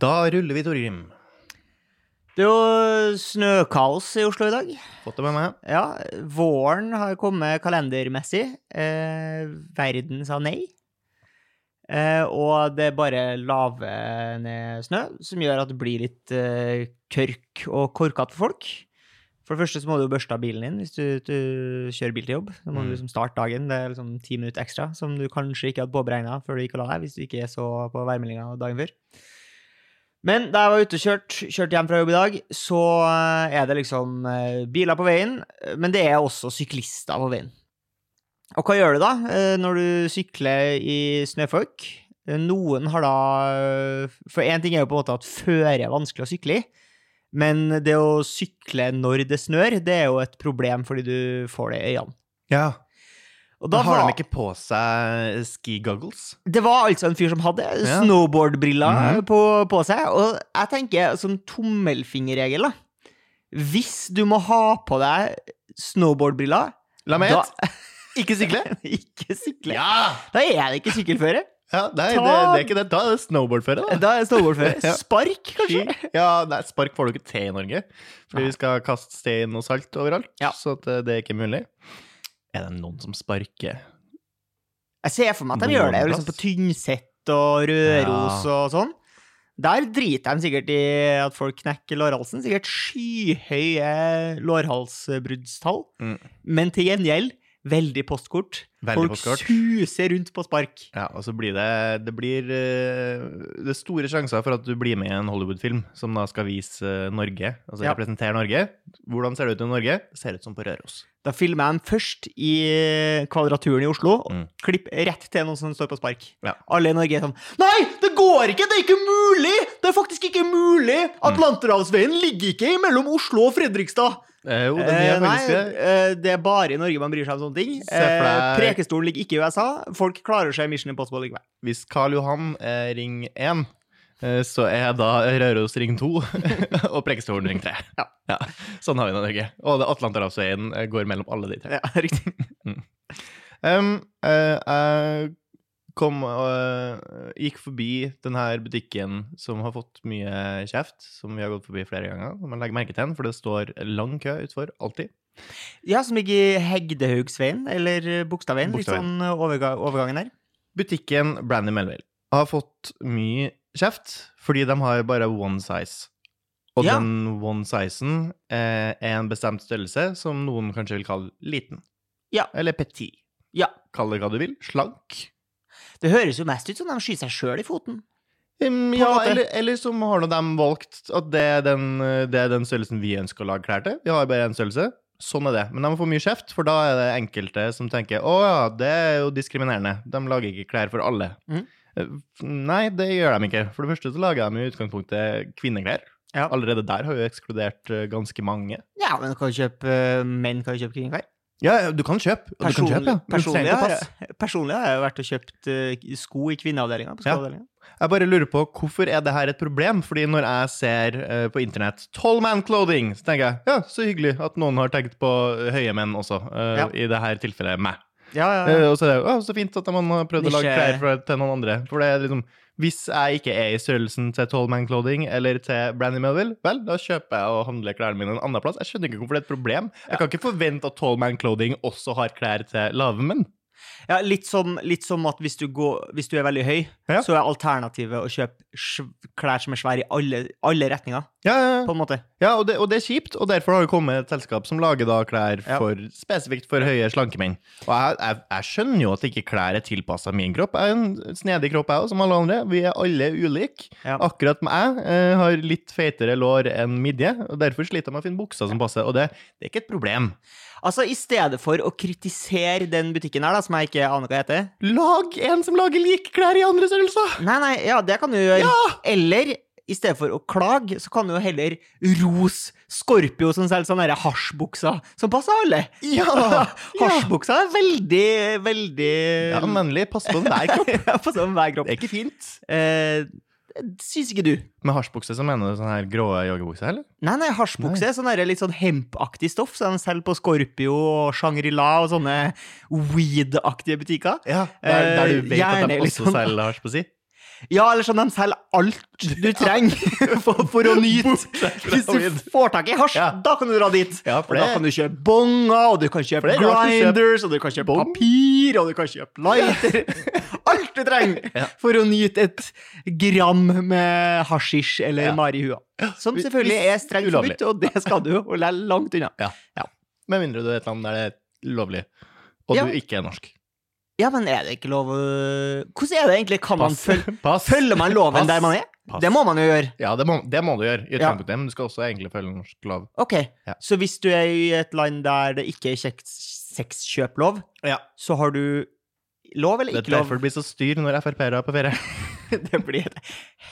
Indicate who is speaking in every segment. Speaker 1: Da ruller vi, Torgrim.
Speaker 2: Det er jo snøkaos i Oslo i dag.
Speaker 1: Fått det med meg.
Speaker 2: Ja, våren har kommet kalendermessig. Eh, verden sa nei. Eh, og det bare laver ned snø, som gjør at det blir litt eh, tørk og korkete for folk. For det første så må du jo børste av bilen din hvis du, du kjører bil til jobb. Da må
Speaker 1: Mm.
Speaker 2: du liksom starte dagen. Det er liksom ti minutter ekstra som du kanskje ikke hadde påberegna før du gikk og la deg, hvis du ikke så på værmeldinga dagen før. Men da jeg var ute og kjørt, kjørte hjem fra jobb i dag, så eh, er det liksom eh, biler på veien, eh, men det er også syklister på veien. Og hva gjør du da eh, når du sykler i snøfolk? Eh, Noen har da eh, For én ting er jo på en måte at føre er vanskelig å sykle i, men det å sykle når det snør, det er jo et problem fordi du får det i øynene.
Speaker 1: Ja.
Speaker 2: Og
Speaker 1: Da har
Speaker 2: var-
Speaker 1: de ikke på seg ski goggles.
Speaker 2: Det var altså en fyr som hadde
Speaker 1: Ja.
Speaker 2: snowboardbriller
Speaker 1: Mhm.
Speaker 2: på, på seg, og jeg tenker som tommelfingerregel, da. Hvis du må ha på deg snowboardbriller
Speaker 1: La meg
Speaker 2: Da-
Speaker 1: gjette. Ikke sykle.
Speaker 2: Ikke sykle.
Speaker 1: Ja!
Speaker 2: Da er det ikke sykkelføre.
Speaker 1: ja nei,
Speaker 2: Ta-
Speaker 1: det, det er ikke det. Da er det snowboardføre, da.
Speaker 2: Da er det snowboardføre.
Speaker 1: Ja.
Speaker 2: Spark, kanskje.
Speaker 1: Ski. Ja, nei, spark får du ikke til i Norge. Fordi
Speaker 2: Nei.
Speaker 1: vi skal kaste stein og salt overalt,
Speaker 2: Ja.
Speaker 1: så at eh, det er ikke mulig. Er det noen som sparker?
Speaker 2: Jeg ser for meg at de gjør det liksom på Tynset og Røros og sånn. Der driter de sikkert i at folk knekker lårhalsen. Sikkert skyhøye lårhalsbruddstall.
Speaker 1: Mm.
Speaker 2: Men til gjengjeld veldig postkort.
Speaker 1: Veldig
Speaker 2: folk
Speaker 1: postkort.
Speaker 2: suser rundt på spark.
Speaker 1: Ja, og så blir det Det blir eh, det er store sjanser for at du blir med i en Hollywood-film som da skal vise eh, Norge, altså
Speaker 2: Ja.
Speaker 1: representere Norge. Hvordan ser det ut i Norge? Det ser ut som på Røros.
Speaker 2: Da filmer jeg dem først i Kvadraturen i Oslo.
Speaker 1: Mm.
Speaker 2: Klipp rett til noen som står på spark.
Speaker 1: Ja.
Speaker 2: Alle i Norge er sånn Nei, det går ikke! Det er ikke mulig! Det er faktisk ikke mulig!
Speaker 1: Mm.
Speaker 2: Atlanterhavsveien ligger ikke mellom Oslo og Fredrikstad.
Speaker 1: Eh, jo, den
Speaker 2: Eh,
Speaker 1: er
Speaker 2: nei,
Speaker 1: faktisk det.
Speaker 2: eh, det er bare i Norge man bryr seg om sånne ting.
Speaker 1: Se for
Speaker 2: Eh,
Speaker 1: deg-
Speaker 2: prekestolen ligger ikke i USA. Folk klarer seg i Mission Impossible likevel.
Speaker 1: Hvis Karl Johan er ring 1, eh, så er da Røros ring 2 og Preikestolen ring 3.
Speaker 2: Ja.
Speaker 1: Sånn har vi det i Norge. Og det- Atlanterhavsveien eh, går mellom alle de tre.
Speaker 2: Ja, riktig.
Speaker 1: Um, eh, jeg kom og gikk forbi denne butikken som har fått mye kjeft, som vi har gått forbi flere ganger. som Man legger merke til den, for det står lang kø utfor, alltid.
Speaker 2: ja, som ligger i Hegdehaugsveien, eller Bogstadveien. Litt
Speaker 1: Bogstadveien.
Speaker 2: sånn overga overgangen der.
Speaker 1: Butikken Brandy Melville har fått mye kjeft, fordi de har bare one size. Og
Speaker 2: Ja.
Speaker 1: den one sizen eh, er en bestemt størrelse som noen kanskje vil kalle liten.
Speaker 2: Ja.
Speaker 1: Eller petit.
Speaker 2: Ja.
Speaker 1: Kall det hva du vil. Slank.
Speaker 2: Det høres jo mest ut som de skyter seg sjøl i foten.
Speaker 1: Um,
Speaker 2: en
Speaker 1: ja,
Speaker 2: måte.
Speaker 1: eller, eller så har nå de valgt at det er, den, eh, det er den størrelsen vi ønsker å lage klær til. Vi har bare én størrelse. Sånn er det. Men de får mye kjeft, for da er det enkelte som tenker å ja, det er jo diskriminerende. De lager ikke klær for alle.
Speaker 2: Mhm.
Speaker 1: Eh, f- Nei, det gjør de ikke. For det første så lager de i utgangspunktet kvinneklær.
Speaker 2: Ja.
Speaker 1: Allerede der har jo ekskludert eh, ganske mange.
Speaker 2: Ja, men du kan jo kjøpe eh, menn kan jo kjøpe kringklær.
Speaker 1: Ja, ja, du kan kjøpe. Du kan kjøpe ja. Men du trenger
Speaker 2: personlig,
Speaker 1: ikke å
Speaker 2: har
Speaker 1: passe.
Speaker 2: jeg, personlig har jeg jo vært og kjøpt eh, sko i kvinneavdelinga. på
Speaker 1: Ja.
Speaker 2: skoavdelingen.
Speaker 1: Jeg bare lurer på hvorfor er det her et problem? Fordi når jeg ser eh, på internett 'Tall Man Clothing', så tenker jeg ja, så hyggelig at noen har tenkt på høye menn også. eh,
Speaker 2: Ja.
Speaker 1: I det her tilfellet meg.
Speaker 2: Ja, ja,
Speaker 1: Eh,
Speaker 2: ja.
Speaker 1: og så er det jo «Å, så fint at man har prøvd å lage
Speaker 2: Nisje.
Speaker 1: klær for, til noen andre. For det er liksom, hvis jeg ikke er i størrelsen til Tall Man Clothing eller til Brandy Melville, vel, da kjøper jeg og handler klærne mine en annen plass. Jeg skjønner ikke hvorfor det er et problem. Jeg kan ikke forvente at Tall Man Clothing også har klær til lave menn.
Speaker 2: ja litt, som, litt som at hvis du, går, hvis du er veldig høy,
Speaker 1: Ja.
Speaker 2: så er alternativet å kjøpe sv- klær som er svære i alle, alle retninger,
Speaker 1: Ja, ja, ja.
Speaker 2: på en måte.
Speaker 1: Ja, og det, og det er kjipt, og derfor har det kommet et selskap som lager da klær
Speaker 2: Ja.
Speaker 1: for, spesifikt for høye slanke menn. Og jeg, jeg, jeg skjønner jo at ikke klær er tilpassa min kropp. Jeg er en snedig kropp, jeg òg, som alle andre. Vi er alle ulike.
Speaker 2: Ja.
Speaker 1: Akkurat som jeg eh, har litt feitere lår enn midje, og derfor sliter jeg med å finne bukser som passer. Og det, det er ikke et problem.
Speaker 2: Altså, I stedet for å kritisere den butikken her, da, som jeg ikke aner hva heter
Speaker 1: Lag en som lager like klær i andre størrelser!
Speaker 2: Nei, nei, ja, det kan du gjøre.
Speaker 1: Ja!
Speaker 2: Eller i stedet for å klage, så kan du jo heller rose Scorpio, som selger sånne der hasjbukser som passer alle.
Speaker 1: Ja!
Speaker 2: Hasjbuksa er veldig, veldig
Speaker 1: Ja, Vennlig, pass på den der kroppen.
Speaker 2: Ja, på sånn hver kropp.
Speaker 1: Det er ikke fint.
Speaker 2: Eh, syns ikke du?
Speaker 1: Med hasjbukse så mener du sånne her grå joggebukser, eller?
Speaker 2: Nei, nei, hasjbukse er sånn der litt sånn hempaktig stoff, som de selger på Scorpio og Shangri-La og sånne weed-aktige butikker.
Speaker 1: Ja, der, der
Speaker 2: Eh,
Speaker 1: du vet at
Speaker 2: gjerne
Speaker 1: de
Speaker 2: liksom-
Speaker 1: også selger hasj på si.
Speaker 2: Ja, eller sånn de selger alt du trenger for, for å nyte. Hvis du får tak i hasj,
Speaker 1: Ja.
Speaker 2: da kan du dra dit.
Speaker 1: Ja, for
Speaker 2: Og da
Speaker 1: det-
Speaker 2: kan du kjøpe bonger, og du kan
Speaker 1: For
Speaker 2: kjøpe
Speaker 1: det er rart å kjøpe
Speaker 2: grinders, og du kan kjøpe
Speaker 1: bong.
Speaker 2: papir, og du kan kjøpe lighter. Alt du trenger
Speaker 1: Ja.
Speaker 2: for å nyte et gram med hasjisj eller
Speaker 1: Ja.
Speaker 2: marihua. Som
Speaker 1: Hvis-
Speaker 2: selvfølgelig
Speaker 1: hvis
Speaker 2: er strengt
Speaker 1: ulovlig.
Speaker 2: forbudt, og det skal du, og det er langt unna.
Speaker 1: Med mindre du er i et land der det er lovlig, og du
Speaker 2: Ja.
Speaker 1: ikke er norsk.
Speaker 2: Ja, men er det ikke lov å Hvordan er det egentlig? Kan man følge,
Speaker 1: Pass.
Speaker 2: følger man loven
Speaker 1: Pass.
Speaker 2: der man er?
Speaker 1: Pass.
Speaker 2: Det må man jo gjøre.
Speaker 1: Ja, det må, det må du gjøre, i
Speaker 2: Ja.
Speaker 1: utgangspunktet, men du skal også egentlig følge norsk lov.
Speaker 2: Ok,
Speaker 1: Ja.
Speaker 2: så hvis du er i et land der det ikke er kjeks- sexkjøplov,
Speaker 1: Ja.
Speaker 2: så har du lov eller
Speaker 1: Det er
Speaker 2: ikke lov?
Speaker 1: derfor det blir så styr når Frp-ere er på ferie.
Speaker 2: Det blir et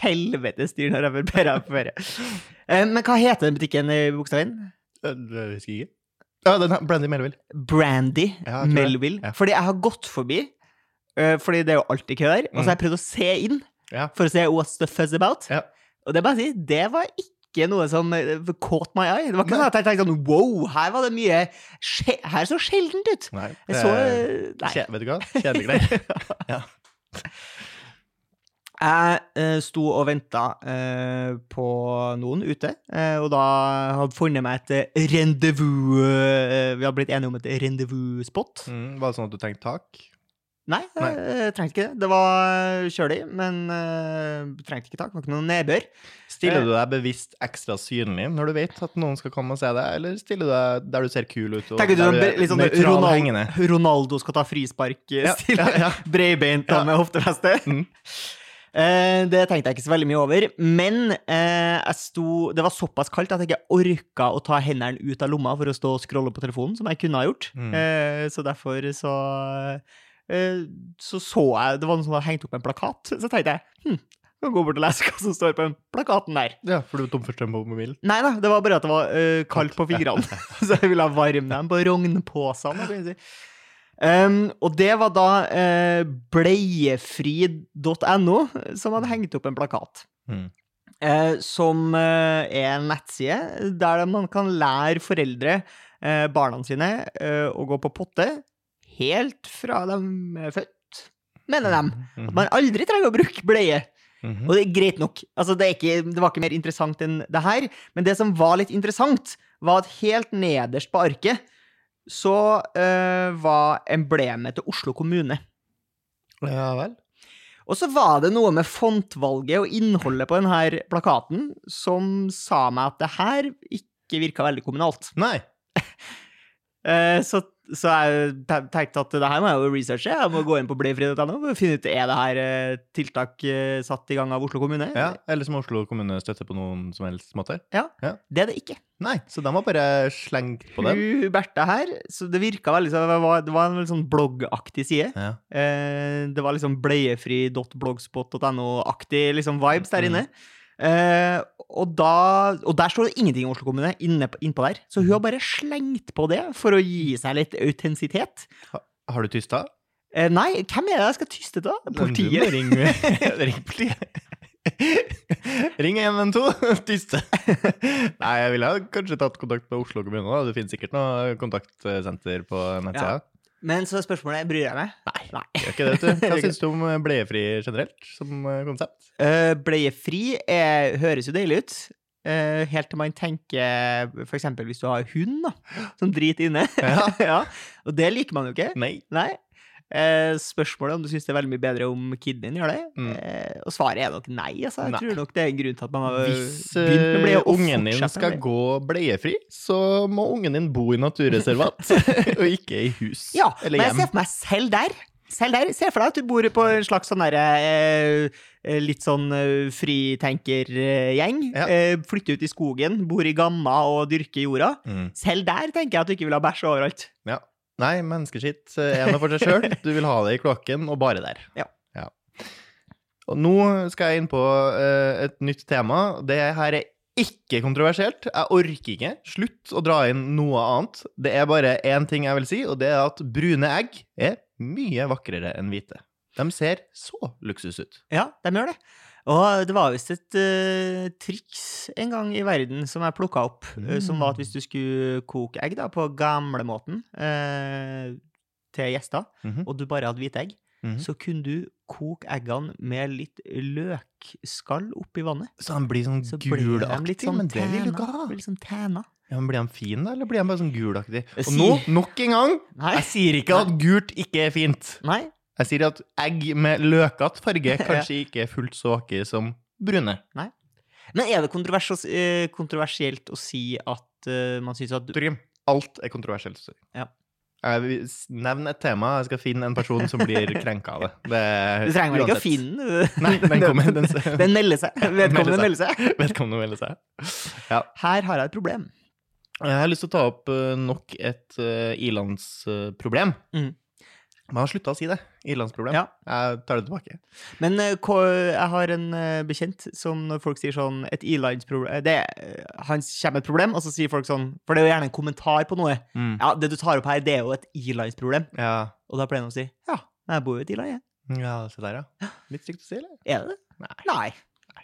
Speaker 2: helvete styr når Frp er på ferie. Eh, Men hva heter den butikken i Bogstadveien?
Speaker 1: Øh, Det husker jeg ikke. Ja, den her, Brandy Melville.
Speaker 2: Brandy
Speaker 1: Ja, jeg tror det.
Speaker 2: Melville.
Speaker 1: Ja.
Speaker 2: Fordi jeg har gått forbi, eh, fordi det er jo alltid kø der, og så har jeg prøvd å se inn
Speaker 1: Ja.
Speaker 2: for å se what's the fuzz about.
Speaker 1: Ja.
Speaker 2: Og det er bare å si, det var ikke noe som eh, caught my eye. Det var ikke
Speaker 1: Nei.
Speaker 2: sånn at jeg tenkte sånn, wow, her var det mye, skje- her så sjeldent ut.
Speaker 1: Nei.
Speaker 2: Jeg så
Speaker 1: det
Speaker 2: eh,
Speaker 1: er-
Speaker 2: Nei.
Speaker 1: kje- Vet du hva? Kjedelige greier.
Speaker 2: Jeg eh, sto og venta eh, på noen ute, eh, og da hadde funnet meg et eh, rendezvous eh, Vi hadde blitt enige om et rendezvous-spot.
Speaker 1: Mm, var det sånn at du tenkte tak?
Speaker 2: Nei,
Speaker 1: Nei.
Speaker 2: jeg, jeg trengte ikke det. Det var kjølig, men eh, trengte ikke tak. Det var ikke noe nedbør. Eh,
Speaker 1: Stiller du deg bevisst ekstra synlig når du vet at noen skal komme og se deg, eller stiller du deg der du ser kul ut? Og
Speaker 2: Tenker du
Speaker 1: der
Speaker 2: sånn,
Speaker 1: er
Speaker 2: litt sånn
Speaker 1: nøytral
Speaker 2: Ronaldo,
Speaker 1: hengende?
Speaker 2: Ronaldo skal ta frispark, eh,
Speaker 1: Ja,
Speaker 2: stille,
Speaker 1: ja, ja.
Speaker 2: breibeint
Speaker 1: Ja.
Speaker 2: og med hoftefeste?
Speaker 1: Mm.
Speaker 2: Eh, det tenkte jeg ikke så veldig mye over, men eh, jeg sto, det var såpass kaldt at jeg ikke orka å ta hendene ut av lomma for å stå og scrolle på telefonen, som jeg kunne ha gjort.
Speaker 1: Mm.
Speaker 2: Eh, så derfor så eh, Så så jeg Det var noen som hadde hengt opp en plakat, så tenkte jeg hm, kan gå bort og lese hva som står på den plakaten der.
Speaker 1: Ja, for du er tom for strøm på mobilen.
Speaker 2: Nei da, det var bare at det var eh, kaldt på fingrene. så jeg ville varme dem på rognposene. hva kan jeg si. Um, og det var da eh, bleiefri.no som hadde hengt opp en plakat.
Speaker 1: Mm.
Speaker 2: Eh, som eh, er en nettside der man kan lære foreldre, eh, barna sine, eh, å gå på potte helt fra de er født, mener de.
Speaker 1: Mhm. Mm-hmm.
Speaker 2: At man aldri trenger å bruke bleie. Og det er greit nok. Altså, det, er ikke, det var ikke mer interessant enn det her. Men det som var litt interessant, var at helt nederst på arket så eh, var emblemet til Oslo kommune.
Speaker 1: Ja vel.
Speaker 2: Og så var det noe med fontvalget og innholdet på denne plakaten som sa meg at det her ikke virka veldig kommunalt.
Speaker 1: Nei.
Speaker 2: Eh, så, så jeg te- tenkte at det her må jeg jo researche. Jeg må gå inn på bleiefri.no og finne ut er det her eh, tiltak eh, satt i gang av Oslo kommune.
Speaker 1: Ja, eller som Oslo kommune støtter på noen som helst måte.
Speaker 2: Det er det ikke.
Speaker 1: Nei, så de har bare slengt på den.
Speaker 2: Hun Bertha her, så det virka veldig som det var, det var en veldig sånn bloggaktig side.
Speaker 1: Ja.
Speaker 2: Eh, det var liksom bleiefri.blogspot.no-aktig liksom
Speaker 1: Mm.
Speaker 2: vibes der inne. Eh, og, da, og der står det ingenting om Oslo kommune inne på, innpå der. Så hun har bare slengt på det for å gi seg litt autentisitet.
Speaker 1: Har du tysta?
Speaker 2: Eh, nei, hvem er det jeg skal tyste til? da?
Speaker 1: Du må
Speaker 2: Politiet?
Speaker 1: ringe- Ring politiet. Ring 112. Tyste. Nei, jeg ville ha kanskje tatt kontakt med Oslo kommune. da. Det finnes sikkert noe kontaktsenter på nettsida.
Speaker 2: Men så spørsmålet er, bryr jeg meg? Nei.
Speaker 1: Gjør ikke det, vet du. Hva syns du om bleiefri generelt, som eh, konsept?
Speaker 2: Eh, bleiefri er, høres jo deilig ut. Eh, helt til man tenker f.eks. hvis du har hund da, som driter inne.
Speaker 1: Ja.
Speaker 2: Ja, Og det liker man jo ikke.
Speaker 1: Nei.
Speaker 2: Nei. Eh, spørsmålet er om du syns det er veldig mye bedre om kiden din gjør det.
Speaker 1: Mm.
Speaker 2: Eh, og svaret er nok nei. Altså. Jeg
Speaker 1: Nei.
Speaker 2: tror nok det er en grunn til at man har
Speaker 1: Hvis
Speaker 2: begynt med bleie
Speaker 1: eh,
Speaker 2: og
Speaker 1: ungen din
Speaker 2: fortsetter
Speaker 1: skal
Speaker 2: med bleie.
Speaker 1: gå bleiefri, så må ungen din bo i naturreservat, og ikke i hus
Speaker 2: Ja,
Speaker 1: eller
Speaker 2: men jeg
Speaker 1: hjem.
Speaker 2: ser for meg selv der. Selv der, Se for deg at du bor på en slags sånn derre eh, eh, Litt sånn eh, fritenkergjeng.
Speaker 1: Ja.
Speaker 2: Eh, flytter ut i skogen, bor i gamma og dyrker jorda.
Speaker 1: Mm.
Speaker 2: Selv der tenker jeg at du ikke vil ha bæsj overalt.
Speaker 1: Nei, menneskeskitt eh, er noe for seg sjøl. Du vil ha det i kloakken, og bare der.
Speaker 2: Ja.
Speaker 1: Og nå skal jeg inn på eh, et nytt tema. Det her er ikke kontroversielt. Jeg orker ikke. Slutt å dra inn noe annet. Det er bare én ting jeg vil si, og det er at brune egg er mye vakrere enn hvite. De ser så luksus ut.
Speaker 2: Ja, de gjør det. Og det var visst et eh, triks en gang i verden som jeg plukka opp, eh, som
Speaker 1: Mm.
Speaker 2: var at hvis du skulle koke egg da, på gamlemåten uh, til gjester,
Speaker 1: Mhm.
Speaker 2: og du bare hadde hvite egg,
Speaker 1: Mhm.
Speaker 2: så kunne du koke eggene med litt løkskall oppi vannet.
Speaker 1: Så han blir sånn
Speaker 2: Så ble de litt
Speaker 1: gulaktig,
Speaker 2: sånn
Speaker 1: men det vil du
Speaker 2: tæna,
Speaker 1: ikke ha.
Speaker 2: Blir litt sånn tæna.
Speaker 1: Ja, men Blir han fin, da, eller blir han bare sånn gulaktig?
Speaker 2: Jeg
Speaker 1: Og nå,
Speaker 2: sier-
Speaker 1: nok en gang,
Speaker 2: Nei.
Speaker 1: jeg sier ikke at gult ikke er fint.
Speaker 2: Nei.
Speaker 1: Jeg sier at egg med løkete farge kanskje ikke er fullt så akkurat som brune.
Speaker 2: Men er det kontrovers å s- eh, kontroversielt å si at eh, man syns at du
Speaker 1: Torgrim, alt er kontroversielt. sorry.
Speaker 2: Ja.
Speaker 1: Jeg vil s- Nevn et tema, jeg skal finne en person som blir krenka av det. det
Speaker 2: Du trenger vel
Speaker 1: uansett.
Speaker 2: ikke å finne den? eh,
Speaker 1: Nei, den kommer. Den,
Speaker 2: Den melder seg. Vedkommende
Speaker 1: Melder
Speaker 2: melder seg.
Speaker 1: vedkommende melder seg.
Speaker 2: Her har jeg et problem.
Speaker 1: Jeg har lyst til å ta opp eh, nok et eh, ilandsproblem.
Speaker 2: Mhm.
Speaker 1: Man har slutta å si det. Ilandsproblem.
Speaker 2: Ja.
Speaker 1: Jeg tar det tilbake.
Speaker 2: Men eh, ko- jeg har en eh, bekjent som når folk sier sånn et ilandsproblem det, eh, Han kommer med et problem, og så sier folk sånn For det er jo gjerne en kommentar på noe.
Speaker 1: Mm.
Speaker 2: Ja, det du tar opp her, det er jo et ilandsproblem.
Speaker 1: Ja.
Speaker 2: Og da pleier han å si ja, men jeg bor jo i et iland, jeg.
Speaker 1: ja, se der, ja. Litt stygt å si, eller?
Speaker 2: Er det det?
Speaker 1: Nei.
Speaker 2: Nei.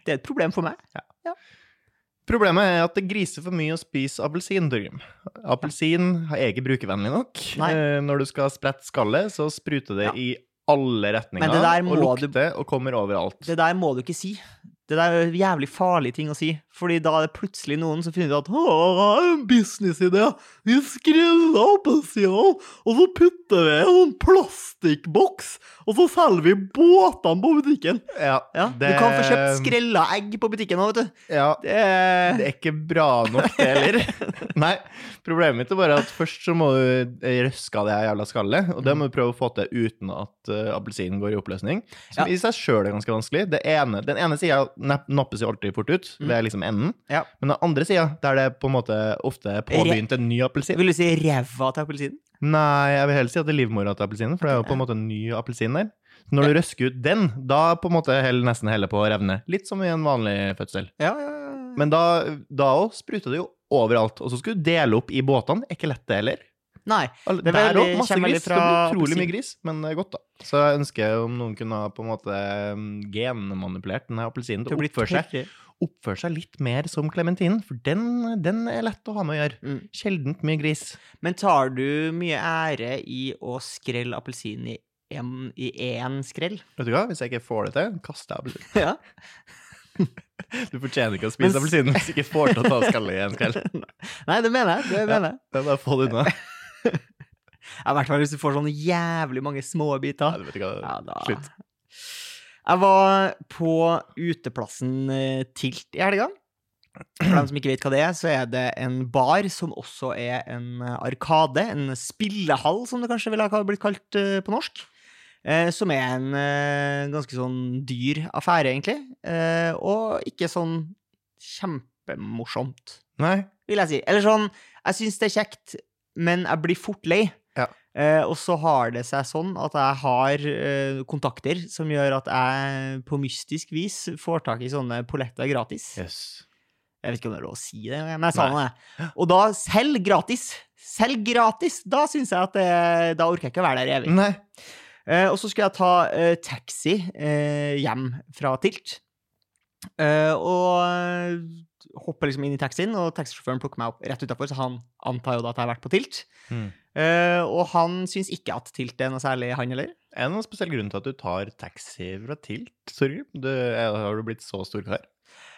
Speaker 2: Det er et problem for meg.
Speaker 1: Problemet er at det griser for mye å spise appelsin, Torgrim. Appelsin er ikke brukervennlig nok.
Speaker 2: Nei.
Speaker 1: Eh, Når du skal sprette skallet, så spruter det
Speaker 2: Ja.
Speaker 1: i alle retninger.
Speaker 2: Men det der
Speaker 1: og
Speaker 2: må du-
Speaker 1: lukter og kommer overalt.
Speaker 2: Det der må du ikke si. Det der er en jævlig farlig ting å si. Fordi da er det plutselig noen som finner ut at «Å, jeg har en businessidé. Vi skreller appelsiner, og så putter vi i en sånn plastikkboks, og så selger vi båtene på butikken.
Speaker 1: Ja,
Speaker 2: Ja, Du kan få kjøpt skrella egg på butikken òg, vet du.
Speaker 1: Ja,
Speaker 2: Det er...
Speaker 1: det er ikke bra nok, det heller. Nei, problemet mitt er bare at først så må du røske av det her jævla skallet, og det må du prøve å få til uten at eh, appelsinen går i oppløsning. Som
Speaker 2: Ja.
Speaker 1: i seg sjøl er ganske vanskelig. Det ene, den ene sida napp, nappes jo alltid fort ut,
Speaker 2: Mm.
Speaker 1: det er liksom enden.
Speaker 2: Ja.
Speaker 1: Men den andre sida, der det på en måte ofte er påbegynt en ny appelsin
Speaker 2: Vil du si ræva til appelsinen?
Speaker 1: Nei, jeg vil heller si at det er livmora til appelsinen, for det er jo på en måte en ny appelsin der. Når du røsker ut den, da på en måte hell- nesten heller på å revne. Litt som i en vanlig fødsel.
Speaker 2: Ja, ja, ja.
Speaker 1: Men da da òg spruta det jo overalt. Og så skulle du dele opp i båtene. Er ikke lett, det heller.
Speaker 2: Nei.
Speaker 1: Alle-
Speaker 2: Det er
Speaker 1: Der
Speaker 2: veldig-
Speaker 1: òg, masse
Speaker 2: kommer veldig
Speaker 1: gris. Det
Speaker 2: fra
Speaker 1: blir utrolig
Speaker 2: appelsin.
Speaker 1: mye gris, men det er godt, da. Så jeg ønsker om noen kunne ha på en måte mm, genmanipulert denne appelsinen til å oppføre seg,
Speaker 2: tørre.
Speaker 1: oppføre seg litt mer som klementinen, for den, den er lett å ha med å gjøre.
Speaker 2: Mm.
Speaker 1: Sjeldent mye gris.
Speaker 2: Men tar du mye ære i å skrelle appelsinen i en- i én skrell?
Speaker 1: Vet du hva, hvis jeg ikke får det til, kaster jeg appelsinen.
Speaker 2: Ja.
Speaker 1: Du fortjener ikke å spise
Speaker 2: Men s-
Speaker 1: appelsinen hvis du ikke får til å ta skallet i en kveld.
Speaker 2: Nei, det mener jeg. det mener Jeg
Speaker 1: Det er bare å få det unna.
Speaker 2: Ja, I hvert fall hvis du får sånne jævlig mange små
Speaker 1: Ja,
Speaker 2: biter.
Speaker 1: du vet ikke hva.
Speaker 2: Ja, da.
Speaker 1: Slutt.
Speaker 2: Jeg var på uteplassen eh, Tilt i helga. For dem som ikke vet hva det er, så er det en bar som også er en eh, arkade. En spillehall, som det kanskje ville ha blitt kalt eh, på norsk. Eh, som er en eh, ganske sånn dyr affære, egentlig. Eh, og ikke sånn kjempemorsomt,
Speaker 1: Nei.
Speaker 2: vil jeg si. Eller sånn, jeg syns det er kjekt, men jeg blir fort lei.
Speaker 1: Ja.
Speaker 2: Eh, og så har det seg sånn at jeg har eh, kontakter som gjør at jeg på mystisk vis får tak i sånne polletter gratis.
Speaker 1: Jøs.
Speaker 2: Jeg vet ikke om det er lov å si det, men jeg sa
Speaker 1: Nei.
Speaker 2: nå det. Og da selv gratis. Selv gratis! Da syns jeg at eh, Da orker jeg ikke å være der evig.
Speaker 1: Nei.
Speaker 2: Eh, og så skulle jeg ta eh, taxi eh, hjem fra Tilt. Eh, og hopper liksom inn i taxien, og taxisjåføren plukker meg opp rett utafor, så han antar jo da at jeg har vært på Tilt.
Speaker 1: Mm.
Speaker 2: Eh, og han syns ikke at Tilt er noe særlig, han heller.
Speaker 1: Er det noen spesiell grunn til at du tar taxi fra Tilt, Torgrim? Du, er- har du blitt så stor kar?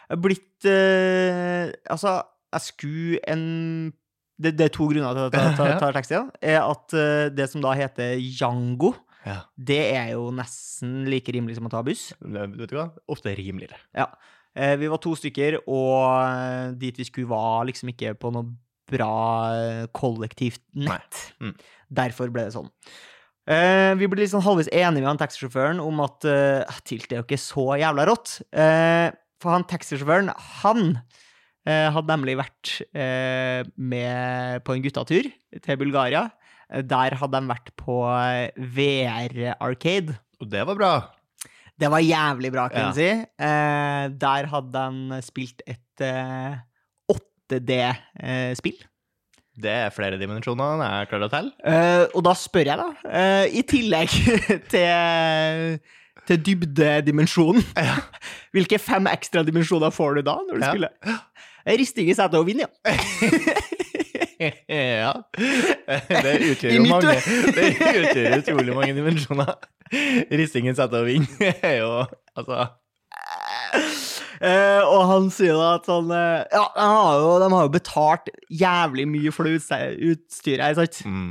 Speaker 2: Jeg er Blitt eh, Altså, jeg skulle en det, det er to grunner til at jeg tar, tar, tar taxi. da. Er at eh, det som da heter Jango,
Speaker 1: Ja.
Speaker 2: det er jo nesten like rimelig som å ta buss.
Speaker 1: Vet du hva? Ofte rimeligere.
Speaker 2: Eh, vi var to stykker, og eh, dit vi skulle var liksom ikke på noe bra eh, kollektivt nett.
Speaker 1: Nei. Mm.
Speaker 2: Derfor ble det sånn. Eh, vi ble liksom halvveis enige med han taxisjåføren om at uh, Tilt er jo ikke så jævla rått. Eh, for han taxisjåføren, han eh, hadde nemlig vært eh, med på en guttatur til Bulgaria. Eh, Der hadde de vært på eh, VR Arcade.
Speaker 1: Og det var bra.
Speaker 2: Det var jævlig bra,
Speaker 1: Ja.
Speaker 2: kan jeg si. Eh, der hadde han spilt et eh, 8D-spill.
Speaker 1: Det er flere dimensjoner enn jeg klarer å telle.
Speaker 2: Eh, og da spør jeg, da, eh, i tillegg til, til dybdedimensjonen Hvilke fem ekstra dimensjoner får du Eh, da? når du
Speaker 1: Ja.
Speaker 2: spiller? Risting i setet og vind, ja.
Speaker 1: ja. Det utgjør jo
Speaker 2: I mitt
Speaker 1: mange
Speaker 2: øye.
Speaker 1: Det utgjør utrolig mange dimensjoner. Ristingen setter og vind er jo Altså
Speaker 2: Eh, og han sier da at han eh, Ja, de har, jo, de har jo betalt jævlig mye for det utse- utstyret her, sant?
Speaker 1: mm.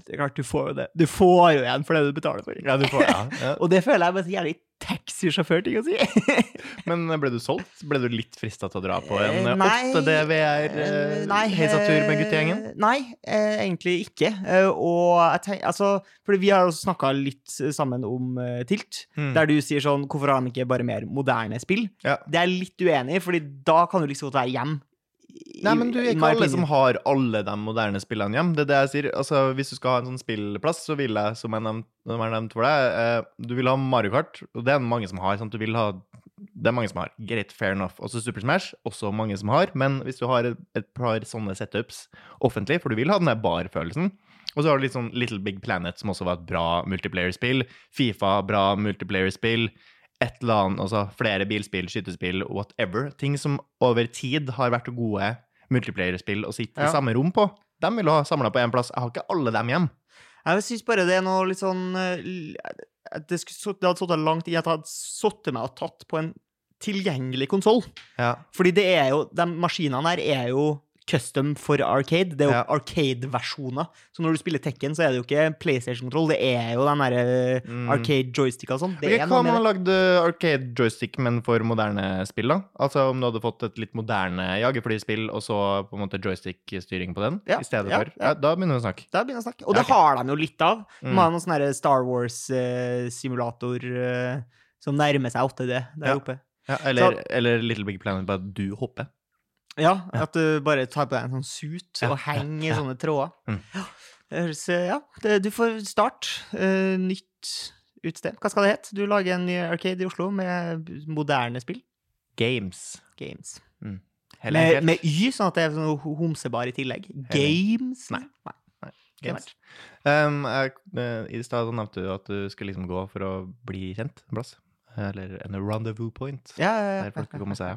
Speaker 2: Det er klart, du får jo det. Du får jo igjen for det du betaler for.
Speaker 1: Ja, du får ja. ja.
Speaker 2: Og det føler jeg bare er så jævlig taxisjåførting å si.
Speaker 1: Men ble du solgt? Ble du litt frista til å dra på en
Speaker 2: Eh,
Speaker 1: eh,
Speaker 2: nei,
Speaker 1: 8
Speaker 2: Eh,
Speaker 1: DVR
Speaker 2: nei,
Speaker 1: heisatur med
Speaker 2: eh,
Speaker 1: guttegjengen?
Speaker 2: Nei, eh, egentlig ikke. Eh, og jeg tenker, altså, fordi vi har også snakka litt sammen om eh, Tilt,
Speaker 1: Mm.
Speaker 2: der du sier sånn Hvorfor har han ikke bare mer moderne spill?
Speaker 1: Ja.
Speaker 2: Det er jeg litt uenig i, fordi da kan du liksom godt være hjem. I-
Speaker 1: Nei, men du er
Speaker 2: in
Speaker 1: ikke
Speaker 2: my
Speaker 1: alle
Speaker 2: opinion.
Speaker 1: som har alle de moderne spillene hjem. Det er det jeg sier. Altså, hvis du skal ha en sånn spillplass, så vil jeg, som jeg nevnte, som jeg nevnte for deg, eh, du vil ha Mario Kart, og det er mange som har. Sant? Du vil ha, det er mange som har. Greit, fair enough. Også Super Smash, også mange som har. Men hvis du har et, et par sånne setups offentlig, for du vil ha den der bar-følelsen, og så har du litt sånn Little Big Planet, som også var et bra multiplayer-spill. Fifa, bra multiplayer-spill. Et eller annet, altså flere bilspill, skytespill, whatever. Ting som over tid har vært gode multiplayer-spill å sitte
Speaker 2: Ja.
Speaker 1: i samme rom på. De vil du ha samla på én plass. Jeg har ikke alle dem hjem.
Speaker 2: Jeg syns bare det er noe litt sånn eh, l- at det, skulle, så- det hadde sittet langt i at jeg hadde sittet meg og tatt på en tilgjengelig konsoll.
Speaker 1: Ja.
Speaker 2: Fordi det er jo, de maskinene her er jo custom for arcade. Det er jo
Speaker 1: Ja.
Speaker 2: arcade-versjoner. Så når du spiller Tekken, så er det jo ikke PlayStation-kontroll, det er jo den derre
Speaker 1: Mm.
Speaker 2: arcade-joystick og sånn. Det er
Speaker 1: hva
Speaker 2: noe
Speaker 1: om man har
Speaker 2: med
Speaker 1: lagd
Speaker 2: det.
Speaker 1: eh, arcade joystick, men for moderne spill, da? Altså om du hadde fått et litt moderne jagerflyspill, og så på en måte joystick-styring på den
Speaker 2: Ja,
Speaker 1: i stedet
Speaker 2: ja,
Speaker 1: for?
Speaker 2: ja.
Speaker 1: Ja, da begynner vi å snakke.
Speaker 2: Der begynner jeg å snakke. Og
Speaker 1: Ja,
Speaker 2: det
Speaker 1: ok.
Speaker 2: har de jo litt av.
Speaker 1: Mm.
Speaker 2: De har noen sånne her Star Wars-simulator eh, som nærmer seg 8D der
Speaker 1: Ja.
Speaker 2: oppe.
Speaker 1: Ja, eller, eller Little Big Planet, bare du hopper.
Speaker 2: Ja, at du bare tar på deg en sånn suit
Speaker 1: Ja,
Speaker 2: og henger i sånne tråder.
Speaker 1: Mm.
Speaker 2: Ja, det høres, eh, ja det, du får start. eh, nytt utsted. Hva skal det hete? Du lager en ny arcade i Oslo med moderne spill.
Speaker 1: Games.
Speaker 2: Games.
Speaker 1: Heller
Speaker 2: Med,
Speaker 1: helt.
Speaker 2: med Y, sånn at det er sånn ho- homsebar i tillegg. Games?
Speaker 1: Nei.
Speaker 2: Nei.
Speaker 1: Games. Um, jeg, eh, I stad så nevnte du at du skulle liksom gå for å bli kjent en plass. Eller en rendezvous point.
Speaker 2: Ja, ja, ja.
Speaker 1: Der folk kan komme og si ja.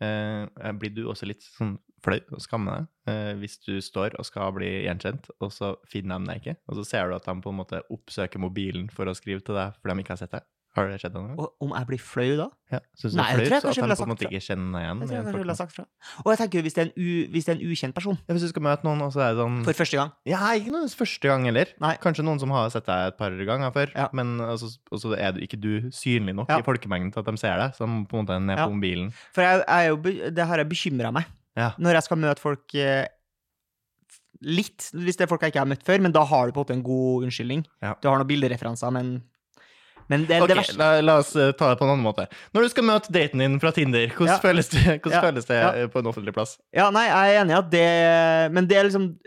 Speaker 1: Eh, blir du også litt sånn flau og skammer deg eh, hvis du står og skal bli gjenkjent, og så finner de deg ikke? Og så ser du at de på en måte oppsøker mobilen for å skrive til deg fordi de ikke har sett deg? Har det skjedd deg noe? gang?
Speaker 2: Og om jeg blir flau da?
Speaker 1: Ja. Syns du det
Speaker 2: Nei,
Speaker 1: er
Speaker 2: jeg tror jeg
Speaker 1: flaut
Speaker 2: kanskje
Speaker 1: at
Speaker 2: ville
Speaker 1: de
Speaker 2: ha
Speaker 1: på en måte
Speaker 2: sagt
Speaker 1: ikke kjenner deg igjen?
Speaker 2: Det
Speaker 1: i
Speaker 2: tror jeg kanskje jeg ville ha
Speaker 1: folk?
Speaker 2: sagt fra. Og jeg tenker jo hvis det er en, u, hvis det er en ukjent person
Speaker 1: Ja, hvis du skal møte noen, og så er det sånn
Speaker 2: for første gang
Speaker 1: Ja, ikke noe første gang heller.
Speaker 2: Nei.
Speaker 1: Kanskje noen som har sett deg et par ganger før,
Speaker 2: Ja.
Speaker 1: men altså, og så er du, ikke du synlig nok i
Speaker 2: Ja.
Speaker 1: folkemengden til at de ser deg, så de må på en måte ned
Speaker 2: Ja.
Speaker 1: på mobilen.
Speaker 2: For jeg, jeg er jo, be- det har jeg bekymra meg.
Speaker 1: Ja.
Speaker 2: Når jeg skal møte folk eh, f- litt, hvis det er folk jeg ikke har møtt før, men da har du på en måte en god unnskyldning.
Speaker 1: Ja.
Speaker 2: Du har noen bildereferanser, men, men det,
Speaker 1: Ok,
Speaker 2: det verste
Speaker 1: la, la oss eh, ta det på en annen måte. Når du skal møte daten din fra Tinder, hvordan
Speaker 2: Ja.
Speaker 1: føles det, hvordan
Speaker 2: Ja.
Speaker 1: føles det
Speaker 2: Ja.
Speaker 1: eh, på en offentlig plass?
Speaker 2: Ja, nei, jeg er enig i at det Men det er liksom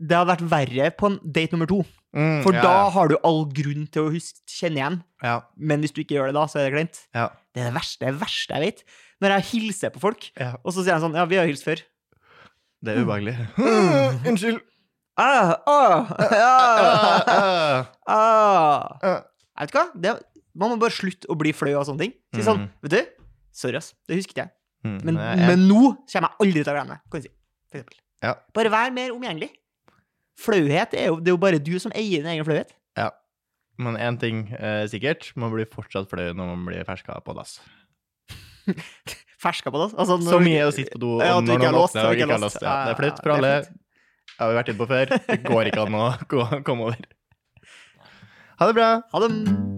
Speaker 2: det hadde vært verre på en date nummer to.
Speaker 1: Mm,
Speaker 2: For
Speaker 1: ja,
Speaker 2: da har du all grunn til å huske, kjenne igjen.
Speaker 1: ja,
Speaker 2: Men hvis du ikke gjør det da, så er det glemt.
Speaker 1: ja,
Speaker 2: Det er det verste, det verste jeg vet. Når jeg hilser på folk,
Speaker 1: ja,
Speaker 2: og så sier jeg sånn Ja, vi har hilst før.
Speaker 1: Det er ubehagelig.
Speaker 2: Mm.
Speaker 1: Unnskyld.
Speaker 2: Ah, ah,
Speaker 1: Ah,
Speaker 2: ah,
Speaker 1: ah,
Speaker 2: ah.
Speaker 1: ah.
Speaker 2: Jeg vet du hva? Det, man må bare slutte å bli fløy av sånne ting. Si sånn,
Speaker 1: Mhm.
Speaker 2: vet du, sorry ass, det husket jeg.
Speaker 1: Mm,
Speaker 2: Men,
Speaker 1: jeg- jeg-
Speaker 2: men nå kommer jeg aldri til å glemme det, kan du si. For eksempel.
Speaker 1: Ja.
Speaker 2: Bare vær mer omgjengelig. Flauhet er jo, det er jo bare du som eier din egen flauhet.
Speaker 1: Men én ting eh, sikkert, man blir fortsatt flau når man blir ferska på dass.
Speaker 2: Ferska på det. Altså, når
Speaker 1: Så
Speaker 2: du-
Speaker 1: mye å sitte på do
Speaker 2: Ja,
Speaker 1: og
Speaker 2: at du
Speaker 1: når
Speaker 2: ikke er
Speaker 1: noen
Speaker 2: låst,
Speaker 1: åpner
Speaker 2: at
Speaker 1: og
Speaker 2: du
Speaker 1: ikke har låst. Ja, det er flaut for
Speaker 2: Ja,
Speaker 1: alle.
Speaker 2: det er
Speaker 1: Det har vi vært inne på før. Det går ikke an å gå- komme over. Ha det bra.
Speaker 2: Ha det.